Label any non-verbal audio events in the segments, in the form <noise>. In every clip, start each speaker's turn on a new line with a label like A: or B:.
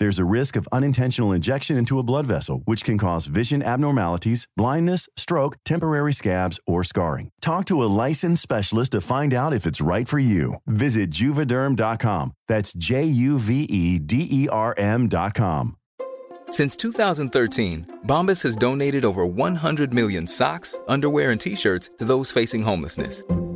A: There's a risk of unintentional injection into a blood vessel, which can cause vision abnormalities, blindness, stroke, temporary scabs, or scarring. Talk to a licensed specialist to find out if it's right for you. Visit juvederm.com. That's J U V E D E R M.com.
B: Since 2013, Bombas has donated over 100 million socks, underwear, and t shirts to those facing homelessness.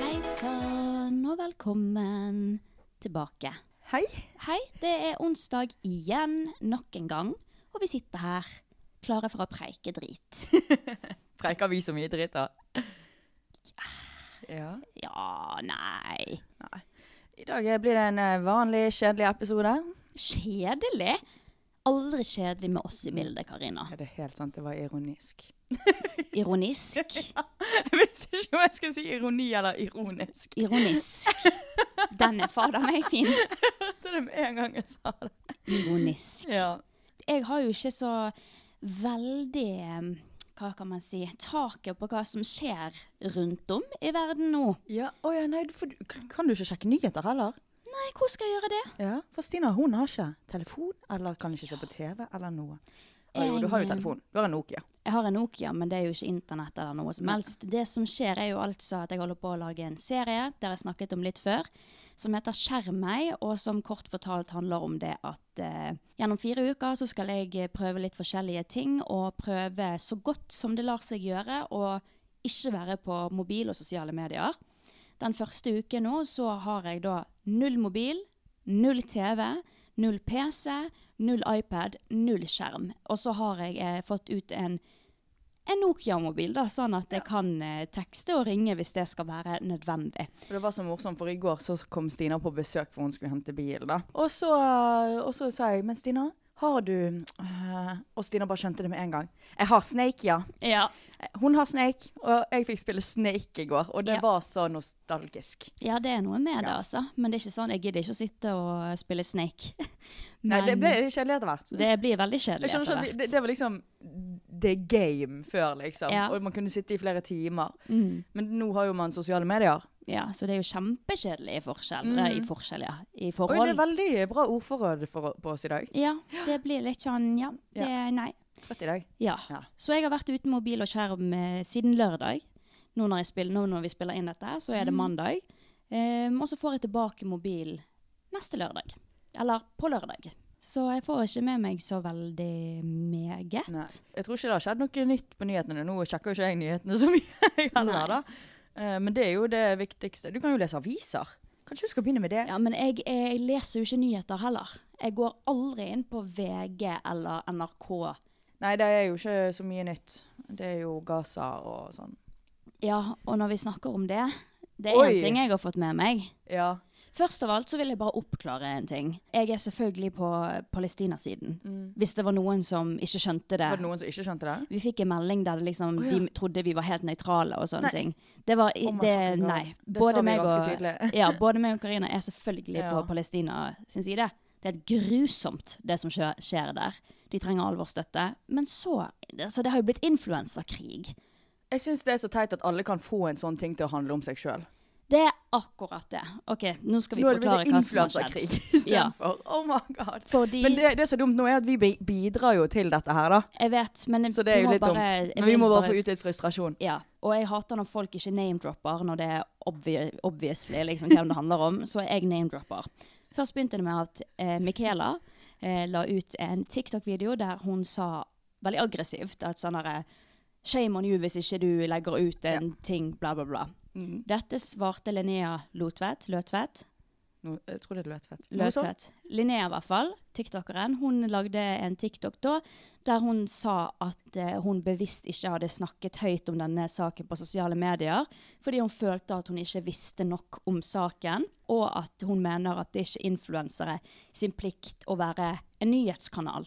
C: Hei sann, og velkommen tilbake.
D: Hei.
C: Hei, det er onsdag igjen, nok en gang. Og vi sitter her, klare for å preike drit. <laughs>
D: Preiker vi så mye dritt, da? Ja.
C: Ja, nei
D: I dag blir det en eh, vanlig, kjedelig episode.
C: Kjedelig? Aldri kjedelig med oss i bildet, Karina.
D: Er det helt sant? Det var ironisk.
C: Ironisk.
D: <laughs> Jeg visste ikke om jeg skulle si ironi eller ironisk.
C: Ironisk. Den er fader meg fin.
D: Jeg hørte det med en gang jeg sa det.
C: Ironisk.
D: Ja.
C: Jeg har jo ikke så veldig eh, hva kan man si Taket på hva som skjer rundt om i verden nå.
D: Ja, Å ja, nei, for, du- kan, kan du ikke sjekke nyheter heller?
C: Nei, hvor skal jeg gjøre det?
D: Ja, for Stina hun har ikke telefon, eller kan ikke se på TV, eller noe. Å jo, du har
C: Jeg,
D: jo telefon. Du har en Nokia.
C: Jeg har en Nokia, men det er jo ikke internett eller noe som helst. Det som skjer er jo altså at jeg holder på å lage en serie, der jeg snakket om litt før, som heter Skjerm meg, og som kort fortalt handler om det at eh, gjennom fire uker så skal jeg eh, prøve litt forskjellige ting, og prøve så godt som det lar seg gjøre, å ikke være på mobil og sosiale medier. Den første uken nå så har jeg da null mobil, null TV, null PC, null iPad, null skjerm. Og så har jeg eh, fått ut en, en Nokia-mobil, da, sånn at jeg kan eh, tekste og ringe hvis det skal være nødvendig.
D: Og Det var så morsomt, for i går så kom Stina på besøk for hun skulle hente bil. da. Og så, eh, og så sa jeg, men Stina, har du øh, Og Stina bare skjønte det med en gang. Jeg har Snake, ja.
C: Ja.
D: Hun har Snake, og jeg fikk spille Snake i går. Og det
C: Ja.
D: var så nostalgisk.
C: ja, det er noe med det, altså. Men det er ikke sånn, jeg gidder ikke å sitte og spille Snake. <laughs>
D: Nei, det
C: Men
D: ble litt kjedelig etter hvert.
C: det blir veldig
D: jeg
C: kjedelig
D: skjønner
C: etter
D: ikke at det, sånn
C: hvert.
D: det var liksom the game før, liksom.
C: Ja.
D: Og man kunne sitte i flere timer.
C: Mm.
D: Men nå har jo man sosiale medier.
C: Ja, så det er jo kjempekjedelig i forskjell.
D: Mm.
C: nei, I forskjell, ja. I
D: Og
C: forhold.
D: det er veldig bra ordforråd for, på oss i dag.
C: Ja, det blir litt sånn, ja.
D: Ja.
C: Det, nei.
D: Trøtt i dag.
C: Ja.
D: Ja.
C: Så jeg har vært uten mobil og skjerm eh, siden lørdag. Nå når, jeg spiller, nå når vi spiller inn dette, så
D: Mm.
C: er det mandag. Ehm, og så får jeg tilbake mobilen neste lørdag. Eller på lørdag. Så jeg får ikke med meg så veldig meget.
D: Nei. Jeg tror ikke det har skjedd noe nytt på nyhetene. Nå sjekker jo ikke jeg nyhetene så mye <laughs> jeg heller, da. Eh, Men det er jo det viktigste. Du kan jo lese aviser. Kanskje du skal begynne med det?
C: Ja, men jeg, eh, jeg leser jo ikke nyheter heller. Jeg går aldri inn på VG eller NRK.
D: Nei, det er jo ikke så mye nytt. Det er jo Gaza og sånn.
C: Ja, og når vi snakker om det, Det er
D: Oi.
C: én ting jeg har fått med meg.
D: Ja.
C: Først av alt så vil jeg bare oppklare en ting. Jeg er selvfølgelig på palestinasiden. Hvis det var noen som ikke skjønte det.
D: Mm. Var det noen som ikke skjønte det?
C: Vi fikk en melding der det liksom, de trodde vi var helt nøytrale og sånne
D: Nei.
C: ting. Det var i-
D: Oh my
C: det,
D: fucking God.
C: Nei.
D: Det sa vi ganske tydelig.
C: <laughs> ja, både meg og Karina er selvfølgelig
D: Ja.
C: på Palestina sin side. Det er helt grusomt, det som skjer- skjer der. De trenger all vår støtte. Men så altså, Det har jo blitt influensakrig.
D: Jeg syns det er så teit at alle kan få en sånn ting til å handle om seg sjøl.
C: Det er akkurat det. OK, nå skal vi
D: Nå er det
C: forklare
D: blitt
C: hva som har skjedd.
D: <laughs> influensakrig
C: Ja.
D: istedenfor. Oh my god.
C: Fordi-
D: Men det, det som er dumt nå, er at vi bi- bidrar jo til dette her, da.
C: Jeg vet, men jeg,
D: Så det er
C: vi
D: jo
C: må
D: litt
C: bare, jeg
D: dumt. Men vi
C: vil
D: må bare få ut litt frustrasjon.
C: Ja, og jeg hater når folk ikke name-dropper når det er obvi obviously liksom, hvem det handler om, så jeg name-dropper. Først begynte det med at eh, Michaela eh, la ut en TikTok-video der hun sa veldig aggressivt at sånn herre Shame on you hvis ikke du legger ut en ting, bla, bla, bla.
D: Mm.
C: Dette svarte Linnea Lotvedt, Løtvedt,
D: Nå- Jeg tror det er løtfett. Noe sånt.
C: Løtvedt. Linnea i hvert fall, tiktokeren, hun lagde en TikTok da, der hun sa at eh, hun bevisst ikke hadde snakket høyt om denne saken på sosiale medier, fordi hun følte at hun ikke visste nok om saken, og at hun mener at det ikke er influensere sin plikt å være en nyhetskanal.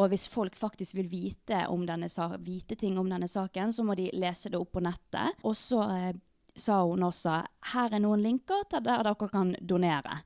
C: Og hvis folk faktisk vil vite, om denne, sa- vite ting om denne saken, så må de lese det opp på nettet. Og så eh, sa hun også her er noen linker til der dere kan donere.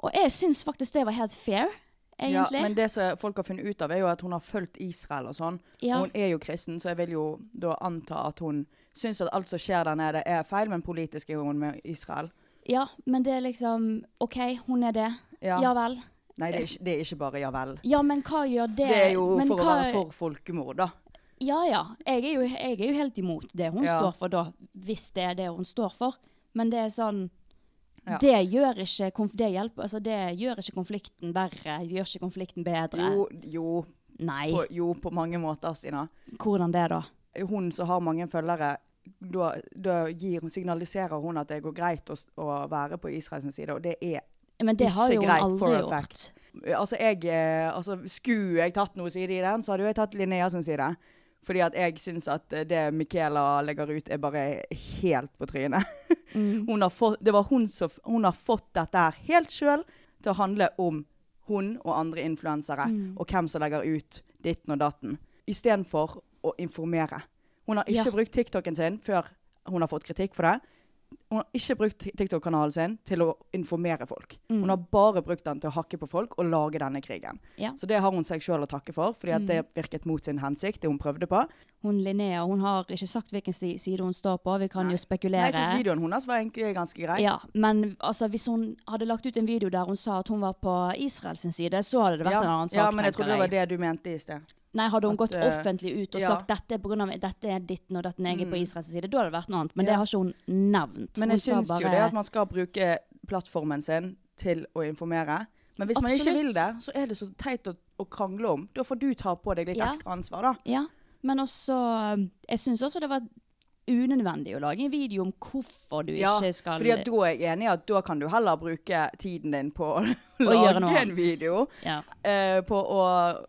C: Og jeg syns faktisk det var helt fair, egentlig.
D: Ja, men det som folk har funnet ut av, er jo at hun har fulgt Israel og sånn.
C: Ja.
D: Og hun er jo kristen, så jeg vil jo da anta at hun syns at alt som skjer der nede er feil, men politisk er hun med Israel.
C: Ja, men det er liksom OK, hun er det. Ja,
D: Ja.
C: vel.
D: Nei, det er ikke, det er ikke bare ja vel.
C: Eh. Ja, men hva gjør det
D: Det er jo
C: men
D: for å
C: hva-
D: være for folkemord, da.
C: Ja ja. Jeg er jo, jeg er jo helt imot det hun
D: Ja.
C: står for, da. Hvis det er det hun står for. Men det er sånn
D: Ja.
C: Det gjør ikke konf det hjelper, altså det gjør ikke konflikten verre, det gjør ikke konflikten bedre.
D: Jo, jo,
C: Nei.
D: på, jo, på mange måter, Stina.
C: Hvordan det, da?
D: Hun som har mange følgere, da, da gir, signaliserer hun at det går greit å, s- å være på Israels side, og det er
C: Men det
D: Ikke
C: har jo hun
D: greit, for
C: aldri
D: a
C: gjort.
D: fact. Altså, jeg, eh, altså, skulle jeg tatt noe side i den, så hadde jo jeg tatt Linnea sin side. Fordi at jeg syns at eh, det Michaela legger ut, er bare helt på trynet.
C: Mm.
D: Hun har fått, det var hun som f- Hun har fått dette her helt sjøl til å handle om hun og andre influensere,
C: Mm.
D: og hvem som legger ut ditten og datten. Istedenfor å informere. Hun har
C: Ja.
D: ikke brukt TikToken sin før hun har fått kritikk for det. Hun har ikke brukt TikTok-kanalen sin til å informere folk.
C: Mm.
D: Hun har bare brukt den til å hakke på folk og lage denne krigen.
C: Ja. Mm.
D: Så det har hun seg sjøl å takke for, fordi at det virket mot sin hensikt, det hun prøvde på.
C: Hun Linnea hun har ikke sagt hvilken si- side hun står på, vi kan jo spekulere.
D: Nei, jeg syns videoen hennes var egentlig ganske grei.
C: Ja, men altså, hvis hun hadde lagt ut en video der hun sa at hun var på Israels side, så hadde det vært
D: Ja.
C: en annen sak.
D: ja, men jeg
C: tenker
D: trodde det var det du mente i sted.
C: Nei, hadde hun
D: at,
C: gått
D: eh,
C: offentlig ut og
D: ja. Mm.
C: sagt dette er på grunn av dette er ditten og datten jeg er på Israels side, da hadde det vært noe annet. Men det har ikke hun nevnt.
D: Men
C: hun
D: jeg syns
C: sa bare,
D: jo det at man skal bruke plattformen sin til å informere. Men hvis man ikke
C: Absolutt.
D: vil det, så er det så teit å, å krangle om. Da får du ta på deg litt
C: Ja.
D: ekstra ansvar, da.
C: Ja, men også eh, Jeg syns også det var unødvendig å lage en video om hvorfor du ikke skal
D: fordi at da er jeg enig i at da kan du heller bruke tiden din på <laughs> å
C: og gjøre
D: lage
C: noe
D: en
C: annet.
D: video.
C: Ja.
D: eh, på å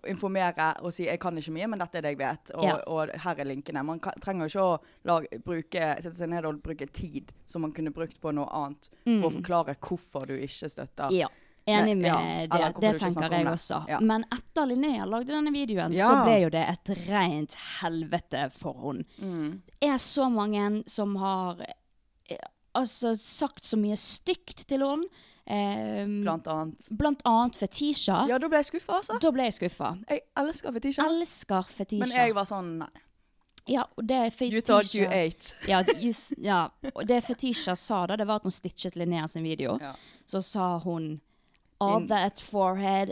D: informere og si 'jeg kan ikke mye, men dette er det jeg vet', og,
C: Ja.
D: og 'her er linkene'. Man kan, trenger ikke å lage, bruke, sette seg ned og bruke tid som man kunne brukt på noe annet, for å forklare hvorfor du ikke støtter.
C: Mm. Ja. Enig med
D: Nei, ja, eller
C: det.
D: hvorfor
C: Det
D: du ikke
C: tenker
D: snakker om
C: jeg
D: det.
C: også.
D: Ja.
C: Men etter Linnea lagde denne videoen, så
D: Ja.
C: ble jo det et rent helvete for hun.
D: Mm.
C: Det er så mange som har eh, altså, sagt så mye stygt til hun. Eh,
D: Blant annet.
C: blant annet Fetisha.
D: Ja, da ble jeg skuffa, altså.
C: Da ble jeg skuffa.
D: Jeg elsker Fetisha.
C: Elsker Fetisha.
D: Men jeg var sånn Nei.
C: ja, og det er
D: You thought you
C: Fetisha-
D: ate.
C: ja, det- just, ja, og det Fetisha sa da, det var at hun stitchet Linnea sin video.
D: Ja.
C: Så sa hun All that forehead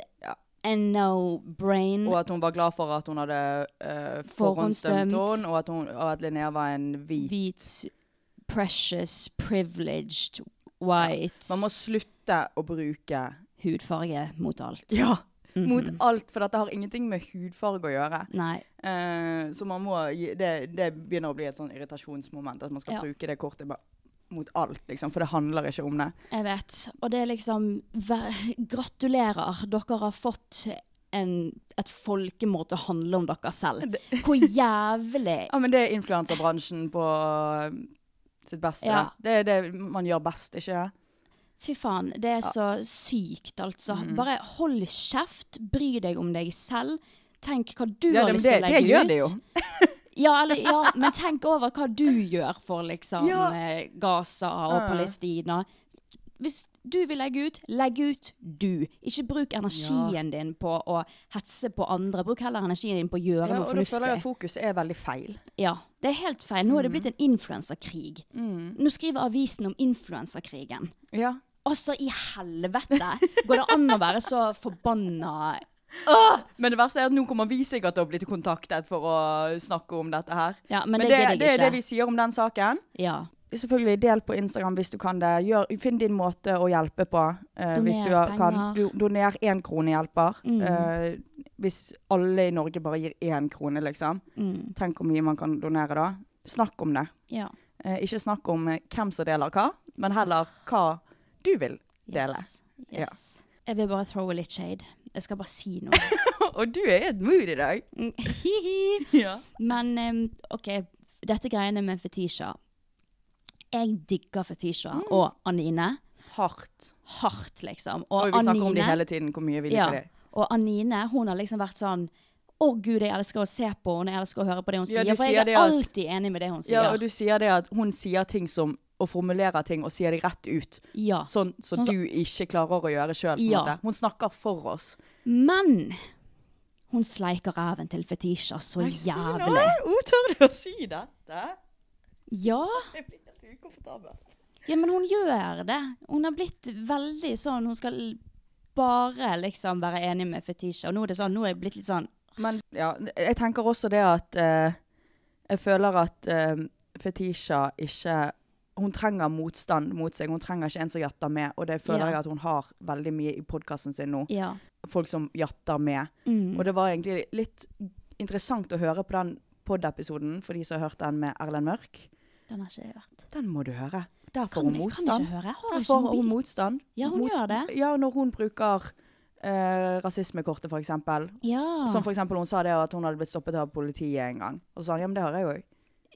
C: and no brain.
D: Og at hun var glad for at hun hadde eh,
C: Forhåndsdømt.
D: forhåndsdømt henne, og at, hun- og at Linnea var en hvit.
C: Hvit, precious, privileged, white
D: Man må slutte å bruke
C: <laughs> hudfarge mot alt.
D: Ja! Mot
C: Mhm.
D: alt, for dette har ingenting med hudfarge å gjøre.
C: Nei.
D: Eh, så man må gi, det, det begynner å bli et sånn irritasjonsmoment, at man skal
C: Ja.
D: bruke det kortet ba- mot alt, liksom, for det handler ikke om det.
C: Jeg vet. Og det er liksom vær- Gratulerer, dere har fått en, et folkemord til å handle om dere selv. Hvor jævlig
D: Ja, men det er influenserbransjen på eh, sitt beste.
C: Ja.
D: da. Det er det man gjør best, ikke det?
C: Fy faen, det er så sykt, altså.
D: Mm.
C: Bare hold kjeft, bry deg om deg selv. Tenk hva du
D: Ja,
C: har
D: det,
C: lyst
D: det,
C: til å
D: det
C: legge ut.
D: gjør det jo.
C: Ja, eller, ja, men tenk over hva du gjør for liksom
D: Ja.
C: eh, Gaza og
D: Ja.
C: Palestina. Hvis du vil legge ut, legg ut du. Ikke bruk energien din på å hetse på andre. Bruk heller energien din på å gjøre
D: Ja,
C: noe
D: og da føler jeg
C: fornuftig.
D: at Mm. fokuset er veldig feil.
C: Ja, Det er helt feil. Nå er det blitt en influenserkrig.
D: Mm.
C: Nå skriver avisen om influenserkrigen.
D: Ja.
C: Altså, i helvete! Går det an å være så forbanna
D: Men det verste er at nå kommer vi sikkert til å bli kontaktet for å snakke om dette her.
C: Ja, men det
D: det,
C: gidder jeg
D: det er det
C: ikke.
D: vi sier om den saken.
C: Ja.
D: Selvfølgelig, del på Instagram hvis du kan det. Gjør, finn din måte å hjelpe på. eh,
C: Doner
D: hvis du har- kan.
C: penger. Mm.
D: Do, doner én krone hjelper. Eh, hvis alle i Norge bare gir én krone, liksom.
C: Mm.
D: Tenk hvor mye man kan donere da. Snakk om det.
C: ja.
D: Eh, ikke snakk om eh, hvem som deler hva, men heller hva du vil dele.
C: Yes.
D: Ja.
C: yes. Jeg vil bare throw a litt shade. Jeg skal bare si noe.
D: Og du er i et mood i dag.
C: Hihi.
D: <laughs> Ja.
C: Men em, OK, dette greiene med fetisjer. Jeg digger fetisjer
D: Mm.
C: og Anine
D: Hardt.
C: hardt, liksom.
D: Og vi snakker om det
C: Anine-
D: hele tiden, hvor mye vi liker det.
C: Og Anine, hun har liksom vært sånn Å, gud, jeg elsker å se på henne, jeg elsker å høre på det hun
D: Ja,
C: sier.
D: du
C: for
D: sier
C: jeg
D: det
C: er
D: at-
C: alltid enig med det hun sier.
D: Ja, og du sier det at hun sier ting som og formulerer ting og sier det rett ut.
C: Ja.
D: Sånn
C: Sånn som-
D: som du ikke klarer å gjøre sjøl.
C: Ja.
D: Hun snakker for oss.
C: Men hun sleiker ræven til fetisjer så jævlig.
D: Hun tør du å si dette?
C: Ja.
D: Jeg blir helt ukomfortabel.
C: ja, men hun gjør det. Hun har blitt veldig sånn Hun skal bare liksom være enig med fetisjer. Og nå er det sånn, nå er jeg blitt litt sånn
D: Men ja, jeg tenker også det at eh, Jeg føler at eh, Fetisha ikke Hun trenger motstand mot seg. Hun trenger ikke en som jatter med, og det føler
C: Ja.
D: jeg at hun har veldig mye i podkasten sin nå.
C: Ja.
D: Folk som jatter med.
C: Mm.
D: Og det var egentlig litt interessant å høre på den pod-episoden for de som har hørt den med Erlend Mørk.
C: Den har ikke jeg hørt.
D: Den må du høre. Der får
C: Kan,
D: hun
C: jeg kan
D: motstand.
C: ikke høre. Jeg har
D: Der
C: ikke
D: får hun
C: mobil.
D: motstand.
C: Ja, hun
D: Mot-
C: gjør det.
D: Ja, når hun bruker eh, rasismekortet, for eksempel.
C: Ja.
D: Som for eksempel hun sa det at hun hadde blitt stoppet av politiet en gang. Og så sa hun, ja, men det har jeg jo.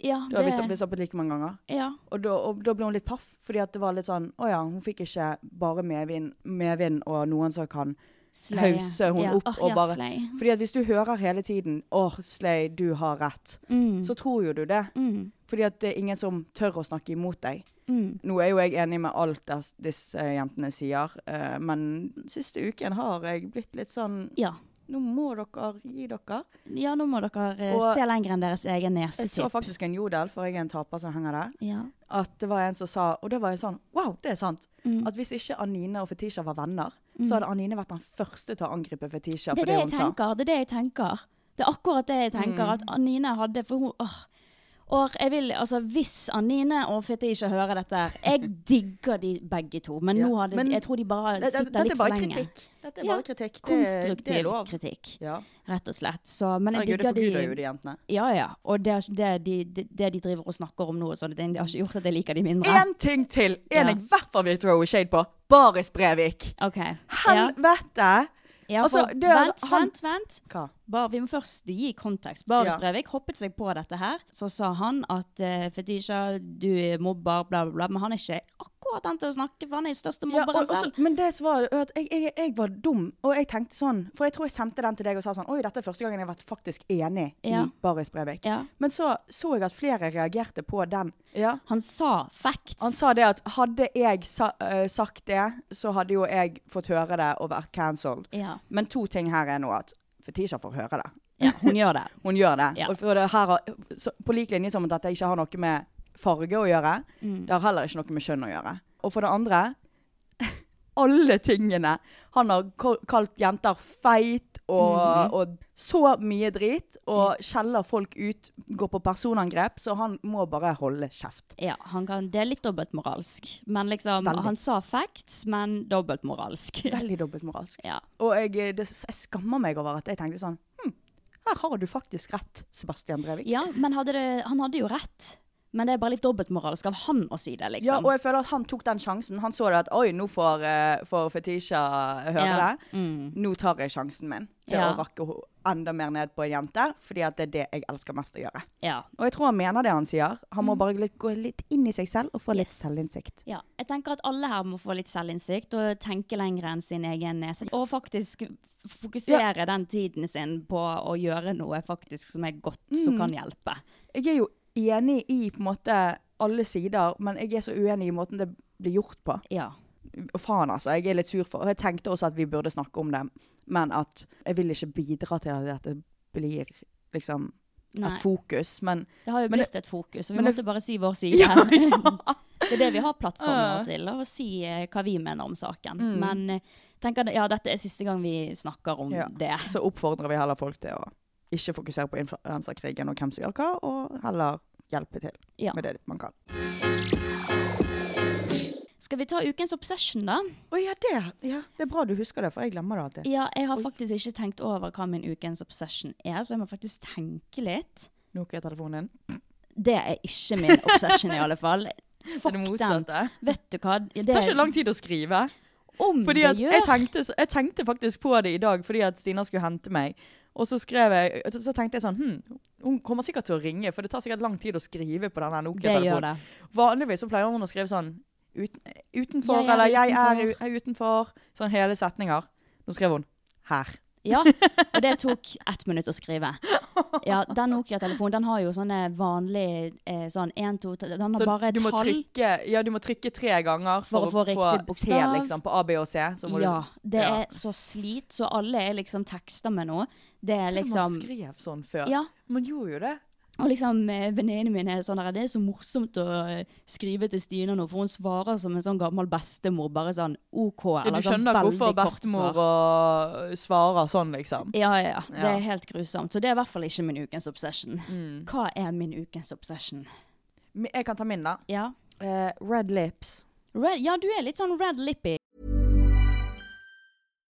C: ja,
D: Da har vi
C: det-
D: blitt stoppet like mange ganger.
C: ja.
D: Og da, og da ble hun litt paff, fordi at det var litt sånn, åja, hun fikk ikke bare medvind, medvind og noen som kan
C: Sleie.
D: hause hun
C: ja.
D: opp
C: Åh,
D: og
C: ja,
D: bare-
C: sleie.
D: Fordi at hvis du hører hele tiden, åh, Slay, du har rett,
C: Mm.
D: så tror jo du det.
C: Mm.
D: Fordi at det er ingen som tør å snakke imot deg.
C: Mm.
D: Nå er jo jeg enig med alt det disse jentene sier, eh, men siste uken har jeg blitt litt sånn
C: Ja.
D: Nå må dere gi dere.
C: ja, nå må dere eh,
D: Og-
C: se lenger enn deres egen nese.
D: Jeg så
C: typ.
D: faktisk en jodel, for jeg er en taper som henger der,
C: Ja.
D: at det var en som sa Og da var jeg sånn Wow, det er sant.
C: Mm.
D: At hvis ikke Anine og Fetisha var venner, så hadde Anine vært den første til å angripe Fetisha
C: Det
D: for
C: er det
D: det
C: jeg
D: hun sa. Mm.
C: tenker. Det er det jeg tenker. Det er akkurat det jeg tenker at Anine hadde, for hun åh. Og jeg vil, altså Hvis Anine og Fitte ikke hører dette her,
D: <laughs>
C: Jeg digger de begge to, men
D: Ja,
C: nå hadde,
D: men-
C: jeg tror de bare
D: Dette-
C: sitter
D: dette er
C: litt
D: bare
C: for lenge.
D: kritikk. Dette er
C: Ja,
D: bare kritikk. Det-
C: Konstruktiv
D: det er lov.
C: kritikk,
D: Ja.
C: rett og slett. Så, men jeg
D: Herregud, det
C: digger
D: forguder
C: de.
D: jo de jentene.
C: Ja, ja. Og det, er ikke det, de, det, det de driver og snakker om nå, og sånne ting, det har ikke gjort at jeg liker de mindre.
D: En ting til! En
C: Ja.
D: jeg i hvert fall vil throw shade på. Baris Brevik.
C: Ok. Ja.
D: Helvete!
C: Ja,
D: altså,
C: for,
D: det er-
C: vent,
D: han-
C: vent, vent.
D: Hva?
C: Bare, vi må først gi kontekst. Baris
D: Ja.
C: Breivik hoppet seg på dette her. Så sa han at eh, Fetisha, du er mobber, bla, bla, bla. Men han er ikke akkurat den til å snakke, for han er jo største
D: Ja, og,
C: mobberen
D: og så-
C: selv.
D: men det som var at jeg, jeg, jeg var dum, og jeg tenkte sånn For jeg tror jeg sendte den til deg og sa sånn Oi, dette er første gangen jeg har vært faktisk enig
C: Ja.
D: i Baris Brevik.
C: Ja.
D: Men så så jeg at flere reagerte på den.
C: Han sa facts.
D: Han sa det at hadde jeg sa, eh, sagt det, så hadde jo jeg fått høre det og vært cancelled.
C: Ja.
D: Men to ting her er nå at Fetisha får høre det.
C: ja, hun gjør det. <laughs>
D: Hun gjør det.
C: Ja.
D: Og for det her, har- så, på lik linje som at dette ikke har noe med farge å gjøre, det har heller ikke noe med kjønn å gjøre. Og for det andre <laughs> Alle tingene. Han har ko- kalt jenter feit og, og så mye drit, og skjeller folk ut, går på personangrep, så han må bare holde kjeft.
C: Ja, han kan, det er litt dobbeltmoralsk. Men liksom,
D: Veldig.
C: han sa facts, men dobbeltmoralsk.
D: <laughs> Veldig dobbeltmoralsk.
C: <laughs> Ja.
D: Og jeg, det, jeg skammer meg over at jeg tenkte sånn hm, Her har du faktisk rett, Sebastian Brevik.
C: ja, men hadde det, han hadde jo rett. Men det er bare litt dobbeltmoralsk av han å si det,
D: Ja,
C: liksom.
D: og jeg føler at han tok den sjansen. Han så det at oi, nå får, eh, får Fetisha eh, høre
C: Ja. Mm.
D: det. Nå tar jeg sjansen min til
C: Ja.
D: å rakke henne enda mer ned på en jente, fordi at det er det jeg elsker mest å gjøre.
C: ja.
D: Og jeg tror han mener det han sier. Han må bare litt- gå litt inn i seg selv og få litt
C: Mm. Yes.
D: selvinnsikt.
C: Ja, jeg tenker at alle her må få litt selvinnsikt og tenke lenger enn sin egen nese. Og faktisk f- fokusere den tiden sin på å gjøre noe faktisk som er godt,
D: Mm.
C: som kan hjelpe.
D: Jeg er jo enig i på en måte alle sider, men jeg er så uenig i måten det blir gjort på.
C: Ja.
D: Og faen, altså. Jeg er litt sur for Og Jeg tenkte også at vi burde snakke om det, men at jeg vil ikke bidra til at det blir liksom
C: Nei,
D: et fokus. Men
C: det har jo
D: men det-
C: blitt et fokus, så vi
D: men det-
C: måtte bare si vår side. <laughs>
D: <laughs> Ja, ja.
C: Det er det vi har plattformer
D: Ja. Mm.
C: til, å si eh, hva vi mener om saken. Men eh, tenker, at- ja, dette er siste gang vi snakker om
D: Ja.
C: det.
D: Så oppfordrer vi heller folk til å ikke fokusere på influenserkrigen og hvem som gjør hva, og heller hjelpe til
C: Ja.
D: med det man kan.
C: Skal vi ta ukens obsession, da?
D: Å ja, det. Ja, det er bra du husker det, for jeg glemmer det alltid.
C: Ja, jeg har faktisk ikke tenkt over hva min ukens obsession er, så jeg må faktisk tenke litt.
D: Nokia er telefonen din.
C: Det er ikke min obsession, i alle fall. Fuck
D: <laughs> det
C: den.
D: motsatte?
C: Vet du hva? Ja,
D: Det tar ikke lang tid å skrive.
C: om
D: Fordi
C: Mm, det
D: at
C: gjør.
D: jeg, tenkte, så- jeg tenkte faktisk på det i dag fordi at Stina skulle hente meg. Og så, skrev jeg, så, så tenkte jeg sånn hm, Hun kommer sikkert til å ringe, for det tar sikkert lang tid å skrive på denne
C: det gjør
D: Nokia-telefonen.
C: det.
D: Vanligvis så pleier hun å skrive sånn ut, utenfor,
C: Jeg er
D: eller 'jeg er u- er utenfor', sånn hele setninger. Nå skrev hun 'her'.
C: Ja, og det tok ett minutt å skrive.
D: <laughs>
C: Ja, Den Nokia-telefonen den har jo sånne vanlige eh, sånn én, to tre Den har
D: Så
C: bare
D: du må,
C: tall.
D: trykke, ja, du må trykke tre ganger
C: For å få
D: for,
C: riktig
D: å se
C: bokstav.
D: liksom, på A, B og C. Så må
C: Ja.
D: du,
C: Det
D: Ja.
C: er så slit, så alle er liksom tekster med noe. Det er
D: Man
C: liksom
D: skrev sånn før.
C: Ja.
D: Man gjorde jo det.
C: Og liksom eh, venninnene mine er sånn der Det er så morsomt å eh, skrive til Stina nå, for hun svarer som en sånn gammel bestemor. Bare sånn OK.
D: Ja, du
C: Eller sånn
D: skjønner
C: veldig
D: hvorfor
C: kort
D: bestemor
C: svar.
D: og svarer sånn, liksom.
C: Ja, ja, ja. Det
D: Ja. Mm.
C: er helt grusomt. Så det er i hvert fall ikke min ukens obsession. Hva er min ukens obsession?
D: Men Jeg kan ta min, da.
C: Ja.
D: Eh, red lips.
C: Red, ja, du er litt sånn red lippy.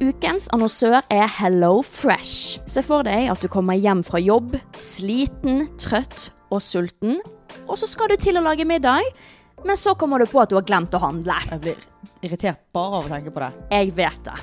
C: Ukens annonsør er Hello Fresh. Se for deg at du kommer hjem fra jobb, sliten, trøtt og sulten. Og så skal du til å lage middag, men så kommer du på at du har glemt å handle.
D: Jeg blir irritert bare av å tenke på det.
C: Jeg vet det.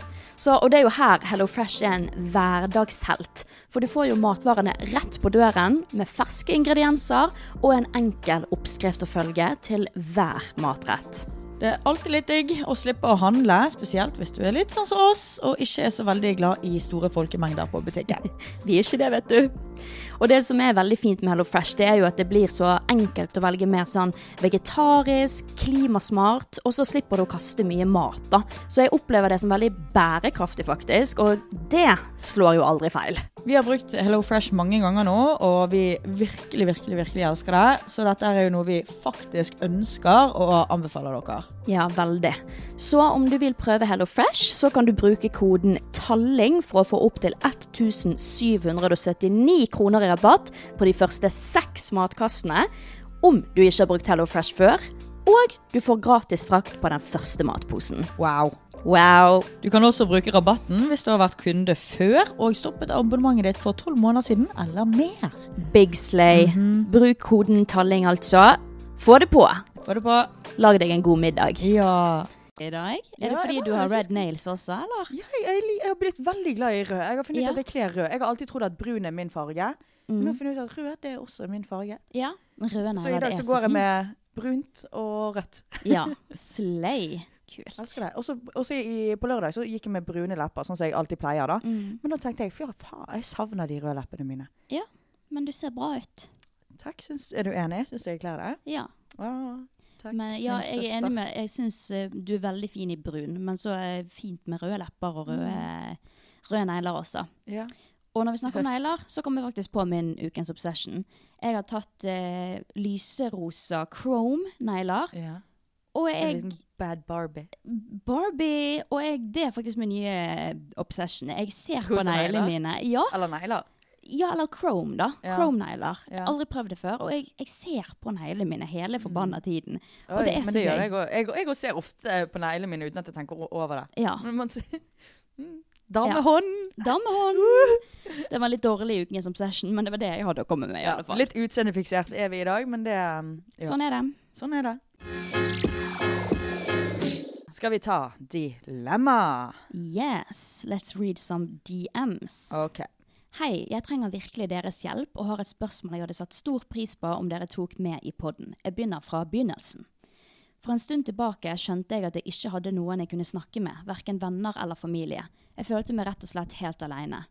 C: Så, og det er jo her Hello Fresh er en hverdagshelt. For du får jo matvarene rett på døren med ferske ingredienser og en enkel oppskrift å følge til hver matrett.
D: Det er alltid litt digg å slippe å handle, spesielt hvis du er litt sånn som oss og ikke er så veldig glad i store folkemengder på butikken.
C: Vi er ikke det, vet du. Og det som er veldig fint med Hello Fresh, det er jo at det blir så enkelt å velge mer sånn vegetarisk, klimasmart, og så slipper du å kaste mye mat, da. Så jeg opplever det som veldig bærekraftig, faktisk, og det slår jo aldri feil.
E: Vi har brukt Hello Fresh mange ganger nå, og vi virkelig, virkelig, virkelig elsker det. Så dette er jo noe vi faktisk ønsker og anbefaler dere.
C: Ja, veldig. Så om du vil prøve Hello Fresh, så kan du bruke koden TALLING for å få opptil 1779 kroner i rabatt på de første seks matkassene, om du ikke har brukt Hello Fresh før, og du får gratis frakt på den første matposen.
E: Wow.
C: Wow!
E: Du kan også bruke rabatten hvis du har vært kunde før og stoppet abonnementet ditt for 12 måneder siden eller mer.
C: Big slay. Bruk koden TALLING, altså. Få det på!
E: Få det på.
C: Lag deg en god middag.
E: Ja.
C: I dag?
E: Ja, jeg var her sist.
C: nails også, eller?
D: Ja, jeg, jeg, li- jeg har blitt veldig glad i rød. Jeg har funnet ut
C: Ja. Mm.
D: at jeg kler rød. Jeg har alltid trodd at brun er min farge. Men nå har jeg funnet ut at rød det er også min farge.
C: Ja. Røde
D: så i dag så går jeg med brunt og rødt.
C: Ja. Slay. Kult.
D: Elsker det. Og så- Og så i- på lørdag så gikk jeg med brune lepper, sånn som jeg alltid pleier. da.
C: Mm.
D: Men da tenkte jeg fy faen, jeg savner de røde leppene mine.
C: Ja, men du ser bra ut.
D: Takk, syns, Er du enig? Syns du jeg kler det?
C: Ja.
D: Ah, takk.
C: Men ja,
D: min
C: jeg er
D: søster.
C: enig med Jeg syns du er veldig fin i brun, men så er fint med røde lepper og røde, røde negler også.
D: Ja.
C: Og når vi snakker om
D: Mm. Høst.
C: negler, så kommer jeg faktisk på min ukens obsession. Jeg har tatt eh, lyserosa chrome-negler.
D: ja.
C: Og
D: En
C: jeg
D: liten bad Barbie.
C: Barbie! Og jeg, det er faktisk min nye obsession. Jeg ser på
D: Rosa
C: neglene
D: negler?
C: mine. Ja,
D: Eller negler.
C: Ja, eller Chrome, da.
D: Ja.
C: Chrome-negler.
D: Ja. Mm.
C: Aldri prøvd det før. Og jeg, jeg ser på neglene mine hele forbanna tiden. Og
D: Oi,
C: det er
D: men
C: så
D: det gjør
C: gøy.
D: jeg òg. Jeg, jeg også ser ofte på neglene mine uten at jeg tenker o- over det.
C: Ja.
D: Men man ser <laughs> Mm, Damehånd!
C: Damehånd! Det var en litt dårlig i ukens obsession, men det var det jeg hadde å komme med. i
D: Ja,
C: alle fall.
D: litt utseendefiksert er vi i dag, men det um, ja.
C: Sånn er det.
D: Sånn er det. Skal vi ta dilemma?
C: Yes, let's read some DMs.
D: OK.
C: Hei, jeg trenger virkelig deres hjelp og har et spørsmål jeg hadde satt stor pris på om dere tok med i podden. Jeg begynner fra begynnelsen. For en stund tilbake skjønte jeg at jeg ikke hadde noen jeg kunne snakke med, verken venner eller familie. Jeg følte meg rett og slett helt alene.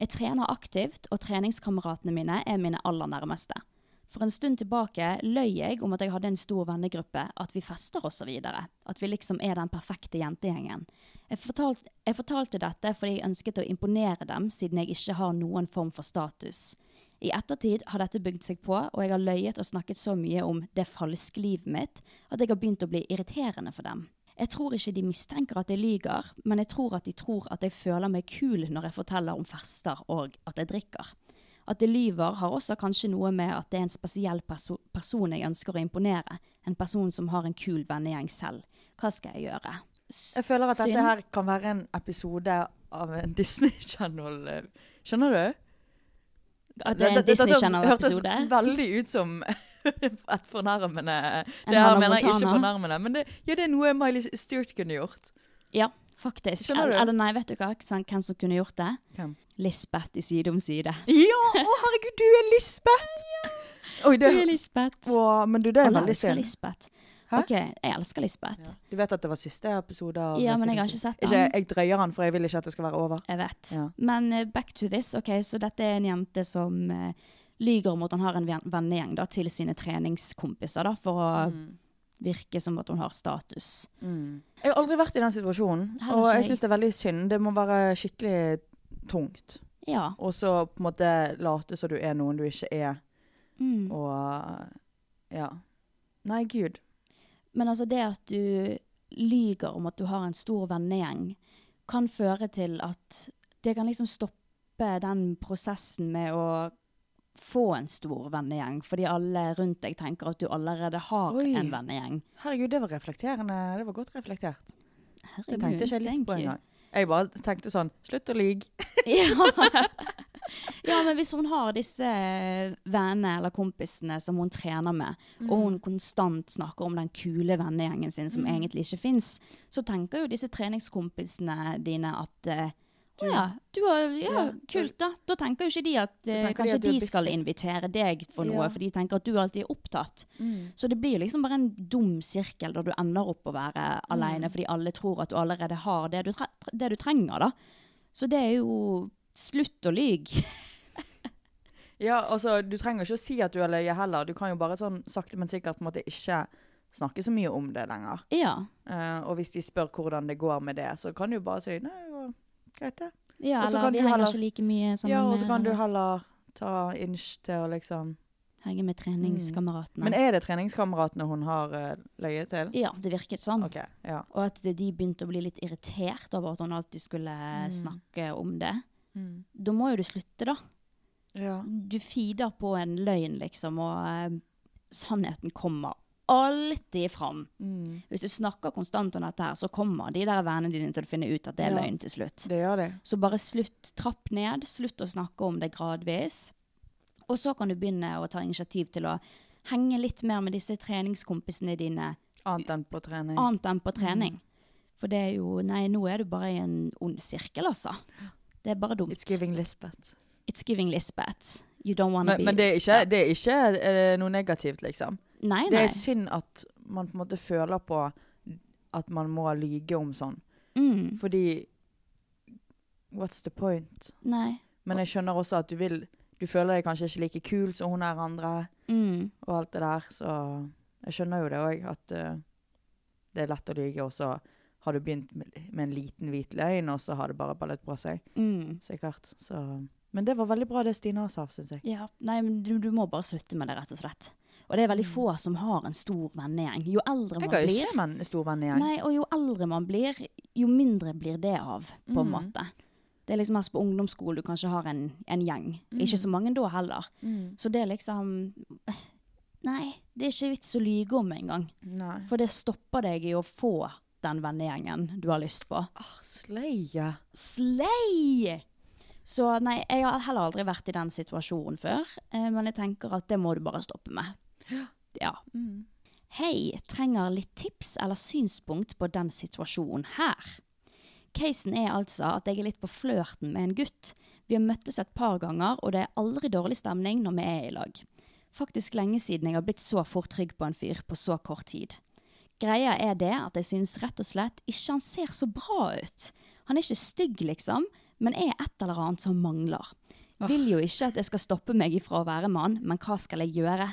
C: Jeg trener aktivt, og treningskameratene mine er mine aller nærmeste. For en stund tilbake løy jeg om at jeg hadde en stor vennegruppe, at vi fester osv. At vi liksom er den perfekte jentegjengen. Jeg, fortalt, jeg fortalte dette fordi jeg ønsket å imponere dem, siden jeg ikke har noen form for status. I ettertid har dette bygd seg på, og jeg har løyet og snakket så mye om det falske livet mitt at jeg har begynt å bli irriterende for dem. Jeg tror ikke de mistenker at jeg lyger, men jeg tror at de tror at jeg føler meg kul når jeg forteller om fester og at jeg drikker. At jeg lyver har også kanskje noe med at det er en spesiell perso person jeg ønsker å imponere. En person som har en kul vennegjeng selv. Hva skal jeg gjøre? S-
D: Jeg føler at
C: synd.
D: dette her kan være en episode av en <laughs> Disney Channel eh, Skjønner du?
C: At det er en
D: Dette- dette
C: Disney
D: hørtes-
C: Channel-episode?
D: hørtes veldig ut som <laughs> et fornærmende
C: En
D: Det her
C: Hannah
D: mener jeg ikke
C: Montana.
D: fornærmende, men det, ja, det er noe Miley Stewart kunne gjort.
C: Ja, faktisk.
D: Skjønner du?
C: Eller, eller nei, vet du hva? ikke sant, Hvem som kunne gjort det?
D: Hvem?
C: Lisbeth i Side om side.
D: Ja! Å, herregud, du er Lisbeth! Oi,
C: <laughs> Du
D: det,
C: er Lisbeth.
D: å, men du, det er
C: Alle
D: veldig
C: elsker
D: synd.
C: Lisbeth.
D: Hæ?
C: Ok, jeg elsker Lisbeth.
D: Du vet at det var siste episode av
C: Ja, men jeg har
D: Sex and the
C: ikke
D: City.
C: sett den.
D: Ikke, jeg drøyer den, for jeg vil ikke at det skal være over.
C: Jeg vet.
D: Ja.
C: Men eh, back to this. Ok, så dette er en jente som eh, lyger om at hun har en ven- vennegjeng da, til sine treningskompiser, da, for å
D: Mm.
C: virke som at hun har status.
D: Jeg har aldri vært i den situasjonen,
C: Heller
D: og
C: ikke
D: jeg
C: jeg.
D: syns det er veldig synd. Det må være skikkelig tungt.
C: Ja.
D: Og så på en måte late som du er noen du ikke er,
C: Mm.
D: og eh, ja. Nei, gud.
C: Men altså det at du lyger om at du har en stor vennegjeng, kan føre til at det kan liksom stoppe den prosessen med å få en stor vennegjeng, fordi alle rundt deg tenker at du allerede har
D: Oi.
C: en vennegjeng.
D: Herregud, det var reflekterende. Det var godt reflektert. Det tenkte ikke jeg litt
C: Thank
D: på
C: you.
D: engang. Jeg bare tenkte sånn Slutt å lyge.
C: <laughs> ja. ja, men hvis hun har disse eh, vennene eller kompisene som hun trener med, og hun konstant snakker om den kule vennegjengen sin som egentlig ikke fins, så tenker jo disse treningskompisene dine at eh, å ja, du har, ja,
D: Ja,
C: kult da. Da tenker jo ikke de at eh,
D: tenker de
C: kanskje
D: at du er
C: de skal
D: busy.
C: invitere deg for noe,
D: Ja.
C: for de tenker at du alltid er opptatt. Så det blir jo liksom bare en dum sirkel der du ender opp å være alene, fordi alle tror at du allerede har det du, tre det du trenger da. Så det er jo slutt å lyge. <laughs>
D: Ja, altså, du trenger ikke å si at du har løyet heller. Du kan jo bare sånn sakte, men sikkert på en måte ikke snakke så mye om det lenger.
C: Ja.
D: Eh, og hvis de spør hvordan det går med det, så kan du jo bare si Nei, det går greit, det.
C: Ja,
D: Og så
C: eller
D: kan
C: vi
D: du
C: henger
D: heller-
C: ikke like mye sammen
D: Ja, og så
C: med
D: kan du
C: eller
D: heller ta inch til å liksom
C: henger med treningskameratene.
D: Men er det treningskameratene hun har uh, løyet til?
C: Ja, det virket sånn.
D: OK. Ja.
C: Og at det- de begynte å bli litt irritert over at hun alltid skulle snakke om det. Da må jo du slutte, da.
D: ja.
C: Du feeder på en løgn, liksom, og eh, sannheten kommer alltid fram.
D: Mm.
C: Hvis du snakker konstant om dette her, så kommer de der vennene dine til å finne ut at det er
D: Ja.
C: løgn til slutt.
D: Det gjør de.
C: Så bare slutt, trapp ned, slutt å snakke om det gradvis. Og så kan du begynne å ta initiativ til å henge litt mer med disse treningskompisene dine,
D: Annet enn på trening.
C: annet enn på
D: Mm.
C: trening. For det er jo Nei, nå er du bare i en ond sirkel, altså. Det er bare dumt.
D: It's giving Lisbeth.
C: It's giving Lisbeth. You don't wanna
D: Men,
C: be
D: men det er ikke, det er ikke eh, noe negativt, liksom.
C: Nei,
D: Det
C: nei.
D: er synd at man på en måte føler på at man må lyge om sånn.
C: Mm.
D: Fordi What's the point?
C: Nei.
D: Men jeg skjønner også at du vil Du føler deg kanskje ikke like kul som hun er andre,
C: Mm.
D: og alt det der, så Jeg skjønner jo det òg, at eh, det er lett å lyge, og så har du begynt med, med en liten hvit løgn, og så har det bare ballet på seg.
C: Mm.
D: Sikkert. Så Men det var veldig bra, det Stina sa, syns jeg.
C: Ja, nei, men du, du må bare slutte med det, rett og slett. Og det er veldig få som har en stor vennegjeng. Mm. Jo eldre man
D: Jeg har
C: blir
D: ikke men, stor venn igjen.
C: Nei, og jo eldre man blir, jo mindre blir det av, på en måte. Det er liksom mest på ungdomsskolen du kanskje har en, en gjeng. Ikke så mange da heller. Så det er liksom Nei, det er ikke vits å lyge om engang.
D: Nei.
C: For det stopper deg i å få den vennegjengen du har lyst på.
D: Ah, Sleie.
C: Slay! Så nei, jeg har heller aldri vært i den situasjonen før, eh, men jeg tenker at det må du bare stoppe med. Ja. Hei, trenger litt tips eller synspunkt på den situasjonen her. Casen er altså at jeg er litt på flørten med en gutt. Vi har møttes et par ganger, og det er aldri dårlig stemning når vi er i lag. Faktisk lenge siden jeg har blitt så fort trygg på en fyr på så kort tid. Greia er det at jeg synes rett og slett ikke han ser så bra ut. Han er ikke stygg, liksom, men er et eller annet som mangler. Vil jo ikke at jeg skal stoppe meg ifra å være mann, men hva skal jeg gjøre?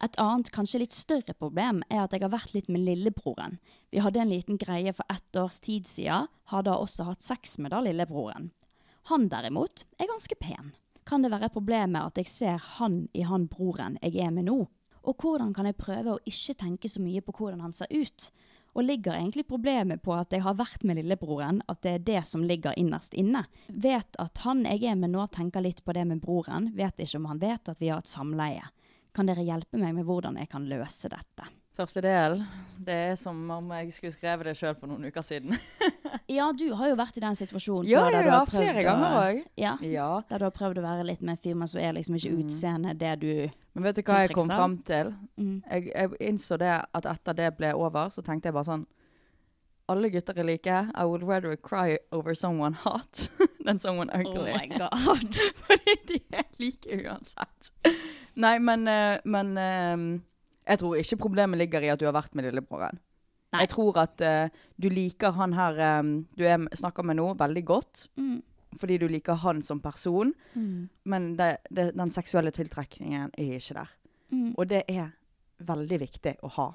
C: Et annet, kanskje litt større problem er at jeg har vært litt med lillebroren. Vi hadde en liten greie for ett års tid siden, har da også hatt sex med da lillebroren. Han derimot er ganske pen. Kan det være problemet at jeg ser han i han broren jeg er med nå? Og hvordan kan jeg prøve å ikke tenke så mye på hvordan han ser ut? Og ligger egentlig problemet på at jeg har vært med lillebroren, at det er det som ligger innerst inne? Vet at han jeg er med nå tenker litt på det med broren, vet ikke om han vet at vi har et samleie. Kan dere hjelpe meg med hvordan jeg kan løse dette?
D: Første del. Det er som om jeg skulle skrevet det sjøl for noen uker siden.
C: Ja, du har jo vært i den situasjonen
D: Ja,
C: før.
D: ja,
C: der du
D: ja,
C: har prøvd
D: flere
C: å-
D: ganger òg.
C: Ja,
D: Ja.
C: der du har prøvd å være litt med en fyr, men så er liksom
D: Mm.
C: ikke utseendet det du
D: Men vet du hva jeg kom
C: Tiltrekk seg.
D: fram til?
C: Mm.
D: Jeg, jeg innså det at etter det ble over, så tenkte jeg bare sånn Alle gutter er like. I would rather cry over someone hot <laughs> than someone
C: Oh
D: ugly. <laughs>
C: god.
D: Fordi de er like uansett. Nei, men, eh, men eh, Jeg tror ikke problemet ligger i at du har vært med lillebroren.
C: Nei.
D: Jeg tror at eh, du liker han her eh, du er, snakker med nå, veldig godt.
C: Mm.
D: Fordi du liker han som person.
C: Mm.
D: Men det, det, den seksuelle tiltrekningen er ikke der.
C: Mm.
D: Og det er veldig viktig å ha.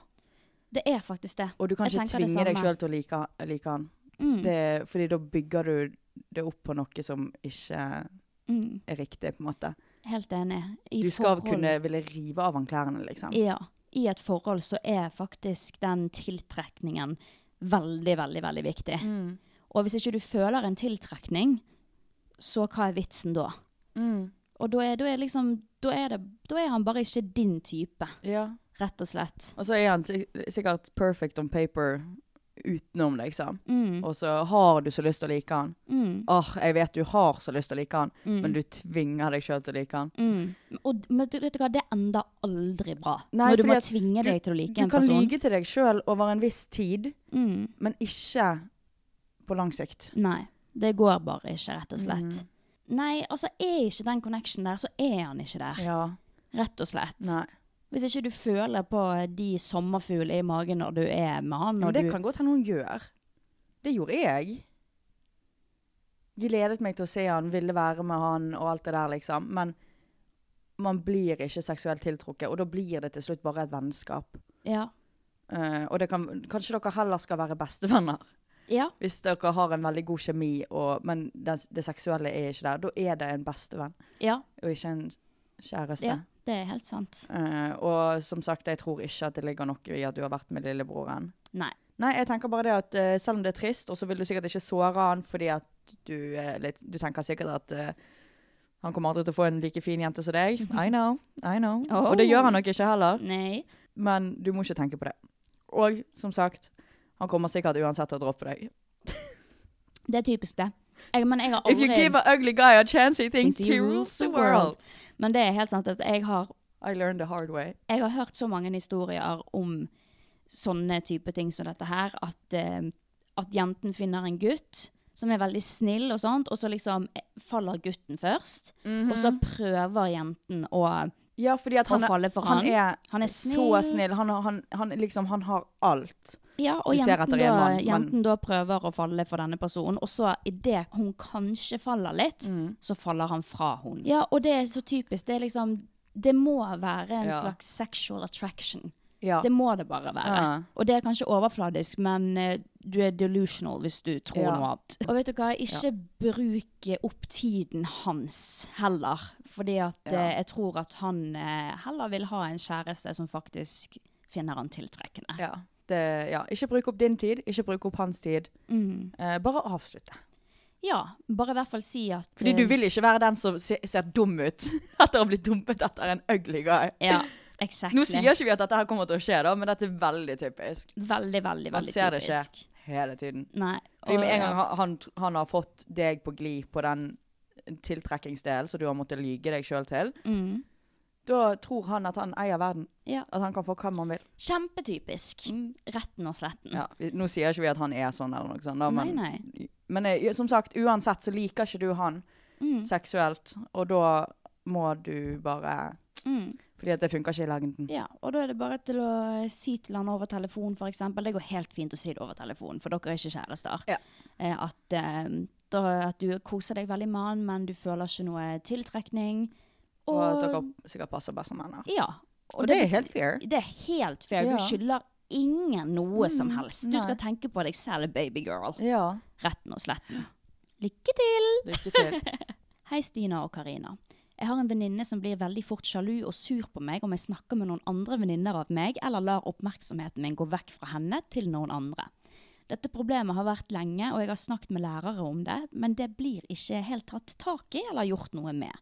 C: Det er faktisk det.
D: Og du kan
C: Jeg
D: ikke
C: tenker det
D: tvinge deg
C: samme.
D: sjøl til å like, like han.
C: Mm.
D: Det, fordi da bygger du det opp på noe som ikke
C: Mm.
D: er riktig, på en måte.
C: Helt enig. I
D: Du skal
C: forhold-
D: kunne ville rive av han klærne, liksom.
C: Ja. I et forhold så er faktisk den tiltrekningen veldig, veldig, veldig viktig.
D: Mm.
C: Og hvis ikke du føler en tiltrekning, så hva er vitsen da? Og da er, da er liksom da er, det, da er han bare ikke din type,
D: Ja.
C: rett og slett.
D: Og så er han sik sikkert perfect on paper utenom, liksom.
C: Mm.
D: Og så har du så lyst til å like han.
C: Mm.
D: Åh, jeg vet du har så lyst til å like han, men du tvinger deg sjøl til å like han.
C: Mm. Og men du, vet du hva, det ender aldri bra.
D: Nei,
C: Når du
D: fordi
C: bare
D: at
C: tvinger
D: du-
C: deg til å like
D: Du
C: en
D: kan
C: person.
D: lyge til deg sjøl over en viss tid,
C: Mm.
D: men ikke på lang sikt.
C: Nei. Det går bare ikke, rett og slett.
D: Mm.
C: Nei, altså er ikke den connection der, så er han ikke der.
D: Ja.
C: Rett og slett.
D: Nei.
C: Hvis ikke du føler på eh, de sommerfuglene i magen når du er med han,
D: Men
C: og
D: det
C: du
D: kan godt hende hun gjør. Det gjorde jeg. Gledet meg til å se han, ville være med han og alt det der, liksom. Men man blir ikke seksuelt tiltrukket, og da blir det til slutt bare et vennskap.
C: Ja.
D: Eh, og det kan, kanskje dere heller skal være bestevenner
C: Ja.
D: Hvis dere har en veldig god kjemi, og, men det, det seksuelle er ikke der, da er det en bestevenn,
C: Ja,
D: og ikke en kjæreste.
C: ja det er helt sant.
D: Eh, og som sagt, jeg tror ikke at det ligger noe i at du har vært med lillebroren.
C: Nei.
D: Nei, jeg tenker bare det at eh, selv om det er trist, og så vil du sikkert ikke såre han fordi at du er litt Du tenker sikkert at eh, han kommer aldri til å få en like fin jente som deg. I know. I know.
C: Oh.
D: Og det gjør han nok ikke heller,
C: Nei.
D: men du må ikke tenke på det. Og som sagt, han kommer sikkert uansett til å droppe deg.
C: Det er typisk det. Jeg, men jeg har
D: If you
C: aldri
D: give an ugly guy a chance, he thinks he rules the world.
C: Men det er helt sant at jeg har,
D: I learned the hard way.
C: jeg har hørt så mange historier om sånne type ting som dette her, at, eh, at jenten finner en gutt som er veldig snill og sånt, og så liksom eh, faller gutten først, og så prøver jenten å
D: Ja, fordi at
C: Han
D: han, er-
C: faller for han.
D: er,
C: Han er
D: så
C: snill.
D: snill. Han, har- han, han, liksom, han har alt.
C: Ja, og
D: Du ser
C: jenten,
D: etter
C: da,
D: en mann, men-
C: jenten da prøver å falle for denne personen, og så idet hun kanskje faller litt,
D: Mm.
C: så faller han fra hun. Ja, og det er så typisk. Det er liksom Det må være en
D: Ja.
C: slags sexual attraction.
D: Ja.
C: Det må det bare være.
D: Ja.
C: Og det er kanskje overfladisk, men eh, du er delusional hvis du tror
D: Ja.
C: noe annet. Og vet du hva, ikke bruk eh, opp tiden hans heller. Fordi at eh, jeg tror at han eh, heller vil ha en kjæreste som faktisk finner han tiltrekkende.
D: Ja. Det, ja. Ikke bruk opp din tid, ikke bruk opp hans tid. Eh, bare avslutte.
C: Mm. Ja, bare i hvert fall si at
D: Fordi
C: eh,
D: du vil ikke være den som se, ser dum ut <laughs> etter å ha blitt dumpet etter en ugly guy.
C: Ja, exactly.
D: Nå sier ikke vi at dette her kommer til å skje, da, men dette er veldig typisk.
C: Veldig, veldig,
D: Man
C: veldig
D: ser det ikke
C: typisk.
D: hele tiden.
C: Nei.
D: Fordi med
C: og-
D: en gang han, han, han har fått deg på glid på den tiltrekkingsdelen som du har måttet lyge deg sjøl til,
C: Mm.
D: da tror han at han eier verden.
C: Ja.
D: At han kan få hvem han vil.
C: Kjempetypisk. Retten og sletten.
D: Ja, vi- nå sier ikke vi at han er sånn eller noe sånt, da, men,
C: Mm. Nei,
D: men eh, som sagt, uansett så liker ikke du han
C: Mm,
D: seksuelt, og da må du bare
C: Mm.
D: Fordi at det funker ikke i lengden.
C: Ja, og da er det bare til å eh, si til han over telefon, for eksempel. Det går helt fint å si det over telefon, for dere er ikke kjærester.
D: Ja.
C: Eh, at, eh, da, at du koser deg veldig med han, men du føler ikke noe tiltrekning.
D: Og at dere sikkert passer best som venner.
C: Ja.
D: Og det er helt fair.
C: Det er helt fair.
D: Ja. Mm,
C: Du skylder ingen noe som helst. Du skal tenke på deg selv, baby girl.
D: Ja.
C: Retten og sletten. Lykke til!
D: Lykke til.
C: Hei, Stina og Karina. Jeg har en venninne som blir veldig fort sjalu og sur på meg om jeg snakker med noen andre venninner av meg, eller lar oppmerksomheten min gå vekk fra henne til noen andre. Dette problemet har vært lenge, og jeg har snakket med lærere om det, men det blir ikke helt tatt tak i eller gjort noe med.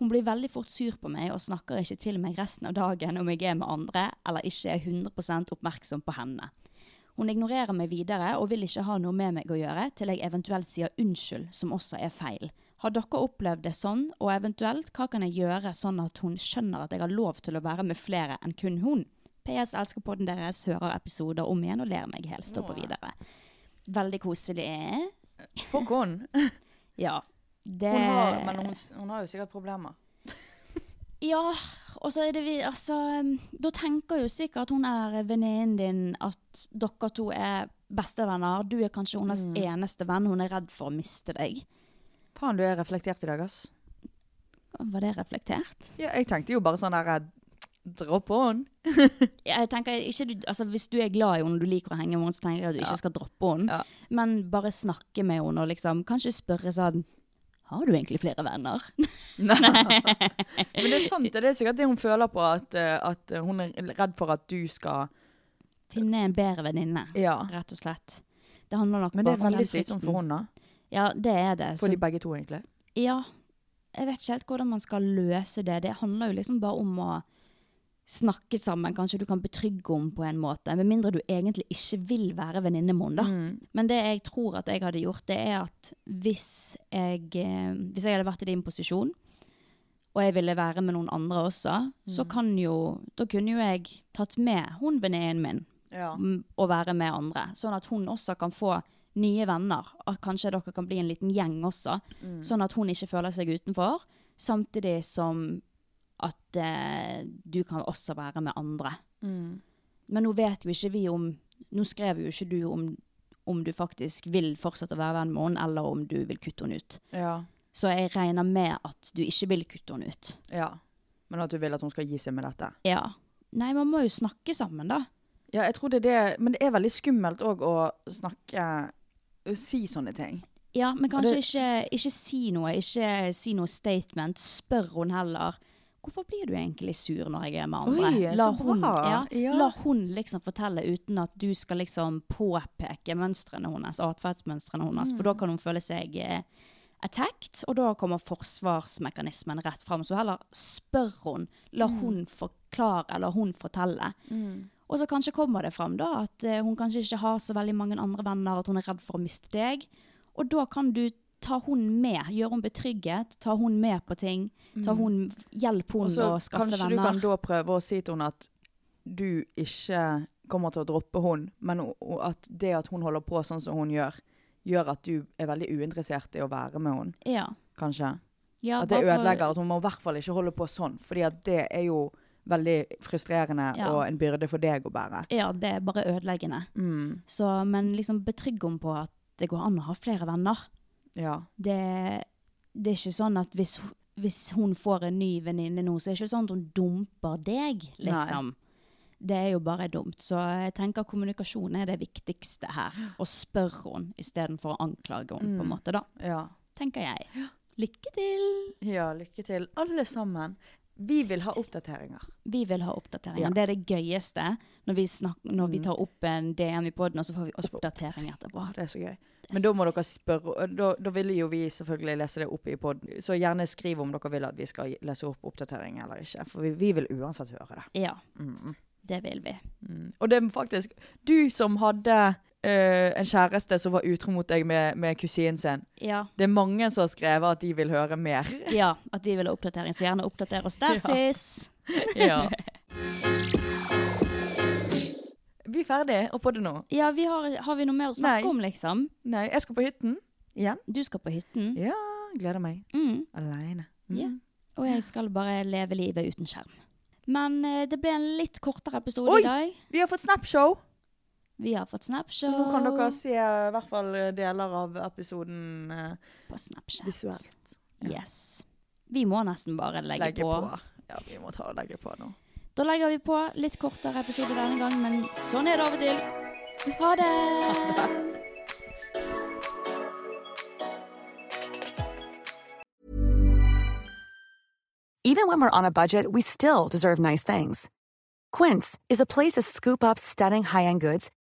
C: Hun blir veldig fort sur på meg og snakker ikke til meg resten av dagen om jeg er med andre, eller ikke er 100 oppmerksom på henne. Hun ignorerer meg videre og vil ikke ha noe med meg å gjøre til jeg eventuelt sier unnskyld, som også er feil. Har dere opplevd det sånn, og eventuelt hva kan jeg gjøre sånn at hun skjønner at jeg har lov til å være med flere enn kun hun? PS elsker podden deres, hører episoder om igjen og ler meg helt stå på videre. Veldig koselig.
D: For hun.
C: Ja. Det
D: hun har, men hun, hun har jo sikkert problemer.
C: Ja, og så er det vi Altså, um, da tenker jo sikkert hun er venninnen din at dere to er bestevenner. Du er kanskje hennes
D: Mm.
C: eneste venn. Hun er redd for å miste deg.
D: Faen, du er reflektert i dag, ass.
C: Var det reflektert?
D: Ja, jeg tenkte jo bare sånn der Dropp on.
C: Ja, Jeg tenker ikke du, altså Hvis du er glad i henne, du liker å henge med henne, så tenker jeg at du ikke skal droppe henne.
D: Ja.
C: Men bare snakke med henne og liksom kanskje spørre sånn Har du egentlig flere
D: <laughs>
C: venner?
D: Men det er sant, det er sikkert det hun føler på, at, eh, at hun er redd for at du skal
C: <laughs> Finne en bedre venninne,
D: Ja.
C: rett og slett. Det handler nok
D: Men det er
C: bare om den
D: veldig slitsomt for
C: frykten.
D: henne.
C: Ja, det er det.
D: For
C: Så-
D: de begge to, egentlig.
C: Ja, jeg vet ikke helt hvordan man skal løse det. Det handler jo liksom bare om å snakke sammen. Kanskje du kan betrygge henne på en måte. Med mindre du egentlig ikke vil være venninne med henne, da. Men det jeg tror at jeg hadde gjort, det er at hvis jeg, eh, hvis jeg hadde vært i din posisjon, og jeg ville være med noen andre også, så kan jo Da kunne jo jeg tatt med hun venninnen min
D: Ja.
C: m- å være med andre. Sånn at hun også kan få nye venner. At kanskje dere kan bli en liten gjeng også. Sånn at hun ikke føler seg utenfor. Samtidig som at eh, du kan også være med andre.
D: Mm.
C: Men nå vet jo ikke vi om Nå skrev jo ikke du om, om du faktisk vil fortsette å være venn med henne, eller om du vil kutte henne ut.
D: ja.
C: Så jeg regner med at du ikke vil kutte henne ut.
D: Ja. Men at du vil at hun skal gi seg med dette.
C: Ja. Nei, man må jo snakke sammen, da.
D: Ja, jeg tror det er det, men det er veldig skummelt òg å snakke å si sånne ting.
C: Ja, men kanskje
E: det-
C: ikke, ikke si noe. Ikke si noe statement. Spør hun heller. Hvorfor blir du egentlig sur når jeg er med andre?
D: Oi, så bra.
C: hun, ja,
D: Ja.
C: la hun liksom fortelle uten at du skal liksom påpeke mønstrene hennes, atferdsmønstrene hennes. For da
D: Mm.
C: kan hun føle seg eh, attacked, og da kommer forsvarsmekanismen rett fram. Så heller spør hun. La
D: Mm.
C: hun forklare, eller hun fortelle. Og så kanskje kommer det fram da at eh, hun kanskje ikke har så veldig mange andre venner, at hun er redd for å miste deg. Og da kan du ta hun med, gjøre hun betrygget, ta hun med på ting,
D: Mm.
C: ta hun, hjelp hun
D: Og så
C: å skaffe
D: kanskje du
C: venner.
D: kan da prøve å si til henne at du ikke kommer til å droppe hun, men o- o- at det at hun holder på sånn som hun gjør, gjør at du er veldig uinteressert i å være med henne,
C: Ja.
D: kanskje.
C: Ja,
D: At det
C: bare for-
D: ødelegger. At hun må i hvert fall ikke holde på sånn, fordi at det er jo veldig frustrerende
C: Ja.
D: og en byrde for deg å bære.
C: Ja, det er bare ødeleggende.
D: Mm.
C: Så, men liksom betrygg henne på at det går an å ha flere venner.
D: Ja.
C: Det, det er ikke sånn at hvis, hvis hun får en ny venninne nå, så er det ikke sånn at hun dumper deg, liksom. Det er jo bare dumt. Så jeg tenker kommunikasjon er det viktigste her. Og spør henne istedenfor å anklage henne, på en måte, da.
D: Mm. ja.
C: Tenker jeg. Lykke til!
D: Ja, lykke til alle sammen. Vi vil ha oppdateringer.
C: Vi vil ha oppdateringer.
D: Ja. Mm.
C: Det er det gøyeste når vi, snak når vi tar opp en DM i poden, og så får vi oppdatering etterpå.
D: Å, det er så gøy. Men da må dere spørre, og da, da vil jo vi selvfølgelig lese det opp i podden. Så gjerne skriv om dere vil at vi skal lese opp oppdatering eller ikke. For vi, vi vil uansett høre det.
C: Ja.
D: Mm.
C: Det vil vi.
D: Og det er faktisk du som hadde eh, en kjæreste som var utro mot deg med, med kusinen sin.
C: Ja.
D: Det er mange som har skrevet at de vil høre mer.
C: ja. At de vil ha oppdatering, så gjerne oppdater oss der, sis.
D: <laughs> Ja. <laughs> Vi er ferdige å podde nå.
C: Ja, vi har, har vi noe mer å snakke
D: Nei.
C: om, liksom?
D: Nei, jeg skal på hytten igjen.
C: Du skal på hytten.
D: Ja, gleder meg.
C: Mm.
D: Aleine.
C: Ja. Og jeg skal bare leve livet uten skjerm. Men eh, det ble en litt kortere episode
D: Oi!
C: i dag.
D: Vi har fått Snapshow,
C: Vi har fått Snapshow
D: så nå kan dere se eh, i hvert fall deler av episoden eh,
C: på Snapchat.
D: visuelt. Ja.
C: Yes. Vi må nesten bare legge,
D: Legge
C: på.
D: på. Ja, vi må ta og legge på nå.
C: Da legger vi på litt kortere episode denne gang, men sånn er det av og til. Ha det!
F: Even when we're on a budget, we still deserve nice things. Quince is a place to scoop up stunning high-end goods